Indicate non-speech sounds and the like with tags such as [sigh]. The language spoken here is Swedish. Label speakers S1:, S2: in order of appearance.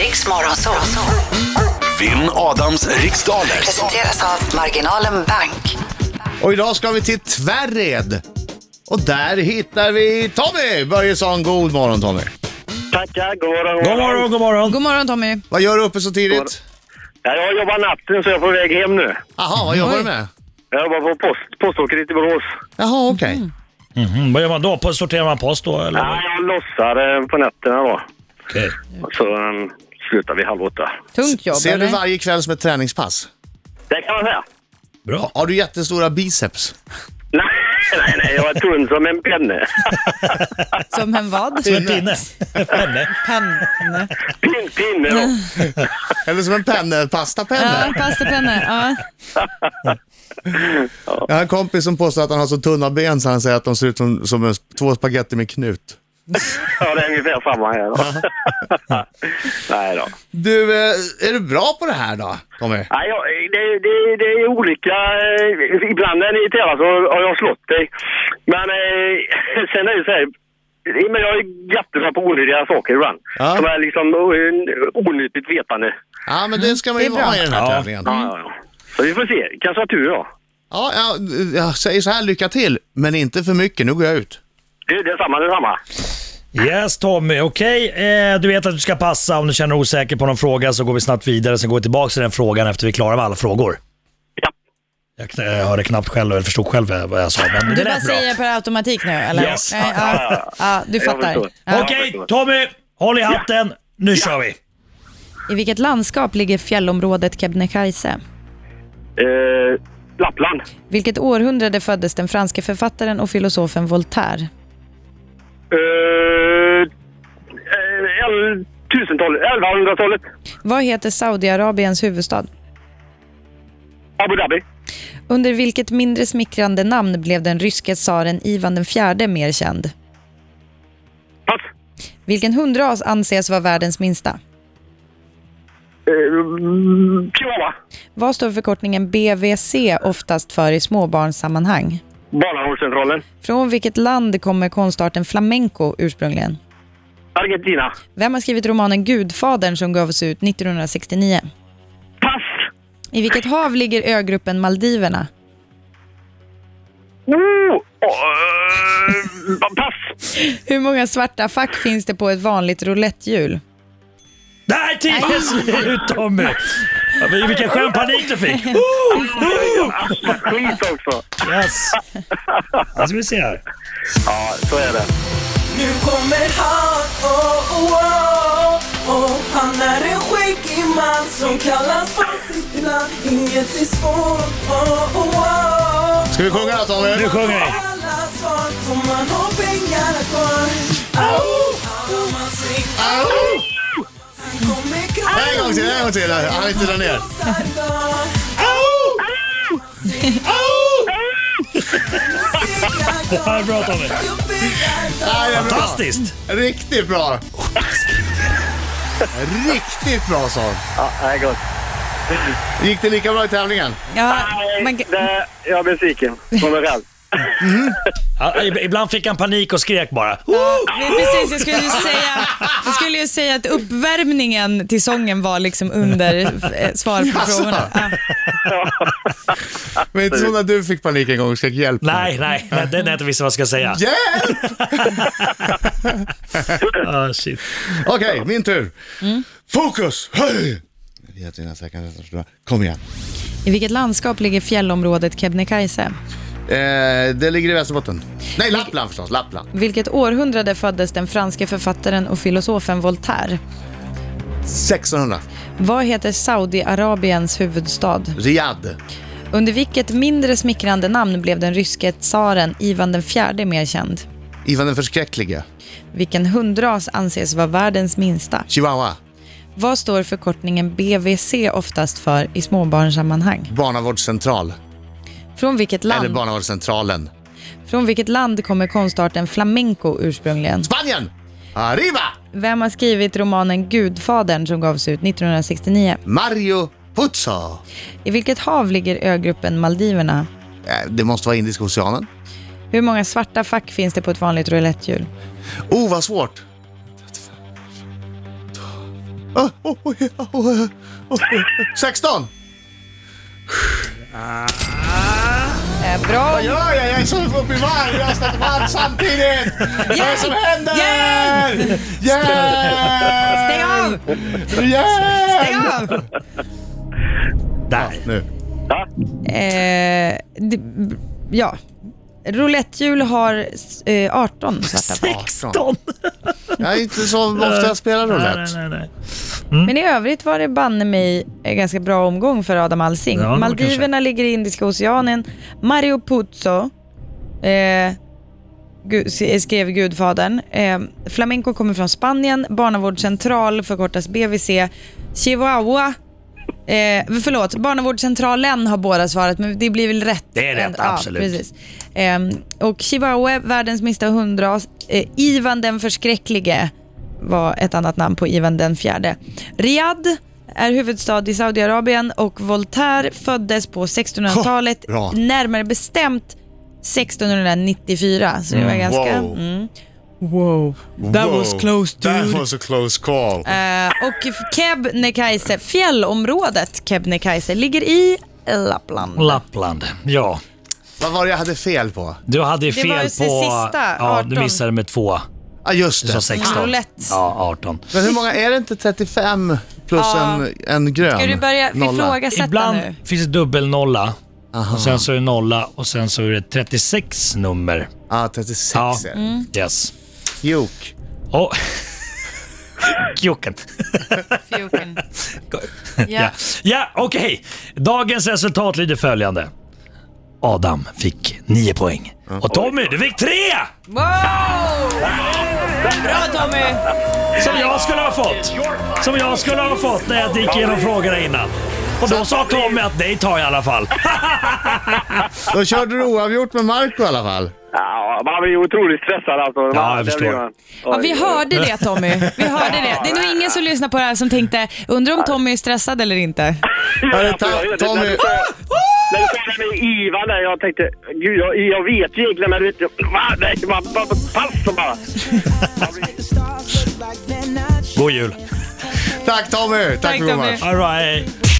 S1: Riks Morgonzoo.
S2: Vinn Adams riksdaler.
S1: Presenteras av Marginalen Bank.
S3: Och idag ska vi till Tvärred. Och där hittar vi Tommy Börjesson. God morgon Tommy.
S4: Tackar, god morgon. god
S5: God morgon, god morgon.
S6: God morgon Tommy.
S3: Vad gör du uppe så tidigt?
S4: Ja, jag jobbar natten så jag är på väg hem nu.
S3: Jaha, vad jobbar du
S6: Oj.
S3: med?
S4: Jag jobbar på post, poståkeriet i Borås.
S3: Jaha, okej.
S5: Mhm, vad gör man då? Po- Sorterar man post då eller?
S4: Ja, jag lossar eh, på nätterna då.
S5: Okej.
S4: Och Så um, slutar vi halv åtta.
S6: Tungt jobb
S3: Ser du
S6: eller?
S3: varje kväll som ett träningspass?
S4: Det kan man säga.
S5: Bra.
S3: Har du jättestora biceps?
S4: Nej, nej, nej. Jag är tunn som en
S5: [laughs]
S4: penne.
S6: Som en vad?
S5: Som en pinne. [laughs] Penne.
S6: Penne.
S4: Pin, pinne då.
S3: Eller som en penne,
S6: Ja,
S3: pastapenne?
S6: en pastapenne. Ja.
S3: Jag har en kompis som påstår att han har så tunna ben så han säger att de ser ut som, som en, två spagetti med knut.
S4: Ja, det är ungefär samma här då. [laughs] nej då.
S3: Du, eh, är du bra på det här då, Tommy?
S4: Nej, jag, det, det, det är olika. eh, Ibland när ni tävlar så har jag slått dig. Men eh, [laughs] sen är det så här. Men jag är jättebra på onödiga saker ibland.
S3: Ja.
S4: Som är liksom o- onyttigt vetande.
S3: Ja, men det ska man ju
S6: Det är bra.
S3: vara i den här
S5: Ja.
S3: tävlingen.
S4: Ja, ja, ja. Så vi får se. Kanske har tur då.
S3: Ja, jag, jag säger så här, lycka till, men inte för mycket. Nu går jag ut.
S4: Det, det är samma, det är samma.
S5: Yes Tommy, okej. Eh, du vet att du ska passa. Om du känner dig osäker på någon fråga så går vi snabbt vidare. Sen går vi tillbaka till den frågan efter vi klarar med alla frågor.
S4: Ja.
S5: Jag kn- eh, hörde knappt själv, eller förstod själv eh, vad jag sa, men det
S6: Du bara
S5: lät bra.
S6: säger per automatik nu eller?
S5: Yes.
S6: Nej, ja. Ja, du
S4: Jag
S6: fattar.
S4: förstår.
S6: Ja.
S5: Okej Tommy, håll i hatten. Nu kör vi.
S6: I vilket landskap ligger fjällområdet Kebnekaise?
S4: Eh, Lappland.
S6: Vilket århundrade föddes den franske författaren och filosofen Voltaire?
S4: Eh, eh, el- 1000-talet, 1100-talet.
S6: Vad heter Saudiarabiens huvudstad?
S4: Abu Dhabi.
S6: Under vilket mindre smickrande namn blev den ryske tsaren Ivan den fjärde mer känd?
S4: Pass.
S6: Vilken hundras anses vara världens minsta?
S4: Eh, Chihuahua.
S6: Vad står förkortningen BVC oftast för i småbarnssammanhang?
S4: Barnavårdscentralen.
S6: Från vilket land kommer konstarten flamenco ursprungligen?
S4: Argentina.
S6: Vem har skrivit romanen Gudfadern som gavs ut 1969?
S4: Pass!
S6: I vilket hav ligger ögruppen Maldiverna?
S4: Oh, eh, pass!
S6: Hur många svarta fack finns det på ett vanligt roulettehjul?
S5: Där tiden är [laughs] slut Tommy! Ja, men Vilken skön panik du
S6: [laughs]
S5: fick.
S6: Oh!
S4: Skit också!
S5: Yes. Nu ska vi se här.
S4: Ja, så är det.
S7: Nu kommer han, oh, oh, oh, oh. Han är en skäggig man som kallas på sitt namn Inget är svårt, oh, oh, oh.
S3: Ska vi sjunga då, Tommy?
S5: Nu sjunger vi.
S7: Alla svar får man ha pengarna kvar Au, au, man svingar
S3: Au!
S7: Han kommer krossa
S3: En gång till, en gång till. Han vill inte dra ner.
S7: krossar dag.
S3: [laughs]
S7: Segrar
S5: Ja,
S7: dag,
S5: bra Tommy.
S7: jobbiga dag
S3: Ja, det är bra.
S5: Fantastiskt.
S3: Riktigt bra. Riktigt bra sång.
S4: Ja, det är gott.
S3: Gick det lika bra i tävlingen?
S6: Ja, man,
S4: Nej, Eh, det, jag är besviken på mig själv.
S5: Ja, ib- Ibland fick han panik och skrek bara. Oh!
S6: Nej, precis, jag skulle, ju säga, jag skulle ju säga att uppvärmningen till sången var liksom under eh, svar på
S3: Jaså?
S6: frågorna. Ja.
S3: Men inte så när du fick panik en gång och skrek hjälp.
S5: Nej, nej, nej, den är inte visste vad jag ska säga.
S3: Hjälp!
S5: Ah, shit.
S3: Okej, min tur. Fokus! Höj! Jag vet inte ens jag kan rätta förstå. Kom igen.
S6: I vilket landskap ligger fjällområdet Kebnekaise?
S3: Eh, det ligger i Västerbotten. Nej, Lappland förstås. Lappland.
S6: Vilket århundrade föddes den franske författaren och filosofen Voltaire?
S3: 1600.
S6: Vad heter Saudiarabiens huvudstad?
S3: Riyadh.
S6: Under vilket mindre smickrande namn blev den ryske tsaren Ivan den fjärde mer känd?
S3: Ivan den förskräcklige.
S6: Vilken hundras anses vara världens minsta?
S3: Chihuahua.
S6: Vad står förkortningen BVC oftast för i småbarnssammanhang?
S3: Barnavårdscentral.
S6: Från vilket
S3: Eller
S6: land,
S3: barnavårdscentralen.
S6: från vilket land kommer konstarten flamenco ursprungligen?
S3: Spanien! Arriba!
S6: Vem har skrivit romanen Gudfadern som gavs ut 1969?
S3: Mario Puzo.
S6: I vilket hav ligger ögruppen Maldiverna?
S3: Eh, Det måste vara Indiska oceanen.
S6: Hur många svarta fack finns det på ett vanligt roulettehjul?
S3: Oh, vad svårt! Ah, oh, oh, ja, oh, oh, oh. 16!
S6: Eh, Bra.
S3: Vad gör jag? Jag är så uppe i varv. Jag har ställt varv samtidigt. Vad är det som händer?
S6: Hjälp!
S3: Hjälp!
S6: Stäng av!
S3: Hjälp!
S6: Stäng av!
S5: Där.
S3: Nu.
S4: Ja.
S6: Eh, det, ja. Roulettehjul har eh, 18 svarta på.
S5: 16!
S3: Jag är inte så ofta jag spelar roulette.
S5: nej, nej. Mm.
S6: Men i övrigt var det banne mig en ganska bra omgång för Adam Alsing.
S5: Ja, det var
S6: Maldiverna
S5: kanske.
S6: ligger i Indiska oceanen. Mario Puzo eh, gu- s- skrev Gudfadern. Eh, flamenco kommer från Spanien. Barnavårdscentral förkortas BVC. Chihuahua Eh, förlåt, barnavårdscentralen har båda svarat, men det blir väl rätt?
S5: Det är rätt,
S6: Ja,
S5: absolut.
S6: precis. Ehm, och chihuahua, världens minsta hundras. Eh, Ivan den förskräcklige var ett annat namn på Ivan den fjärde. Riyadh är huvudstad i Saudiarabien och Voltaire föddes på 1600-talet,
S3: Ha, bra.
S6: närmare bestämt 1694. Så det var ganska...
S3: wow.
S6: Mm. Wow. That was close,
S3: That
S6: dude.
S3: was a close call.
S6: Eh, och Kebnekaise, fjällområdet Kebnekaise, ligger i Lappland.
S5: Lappland. Ja,
S3: Vad var det jag hade fel på?
S5: du hade ju
S6: Det
S5: fel
S6: var ju
S5: på...
S6: det sista,
S5: Ja, du
S6: 18.
S5: missade med två.
S3: Ja, just
S5: Du sa
S3: det.
S5: 16.
S6: Roulette.
S5: Ja, 18.
S3: Men hur många, är det inte 35 plus
S6: Ja.
S3: en, en grön?
S6: Ska du börja
S3: Nolla.
S6: ifrågasätta
S5: Ibland
S6: nu?
S5: finns det dubbelnolla. Och sen så är det nolla och sen så är det 36 nummer.
S3: Ja, 36 är det.
S5: Mm. Yes.
S3: Jok.
S5: Och... [laughs] Jocken.
S6: Fjoken.
S5: Ja, ja okej. Dagens resultat lyder följande. Adam fick 9 poäng. Och Tommy, du fick 3!
S6: Wow! Bra Tommy!
S5: Som jag skulle ha fått. Som jag skulle ha fått när jag gick igenom frågorna innan. Och då sa Tommy att nej tar jag i alla fall.
S3: Då körde du oavgjort med Marco i alla fall.
S4: Ja, man blir otroligt stressad alltså. Man-
S5: jag
S4: det
S5: förstår.
S4: blir man.
S6: Ja, vi hörde det Tommy. Vi hörde det. Det är nog ingen som lyssnar på det här som tänkte, undrar om Tommy är stressad eller inte.
S3: Hörru,
S4: Alltså, jag
S3: ta,
S4: vet inte, När
S3: Tommy.
S4: du sa- när du sa det med Ivan där, jag tänkte, gud jag, jag vet ju egentligen men du vet, va? Nej, man, man, man, pass och bara.
S5: God jul.
S3: Tack Tommy. Tack,
S6: Tack,
S3: för god
S6: Tommy.
S3: match.
S5: All right.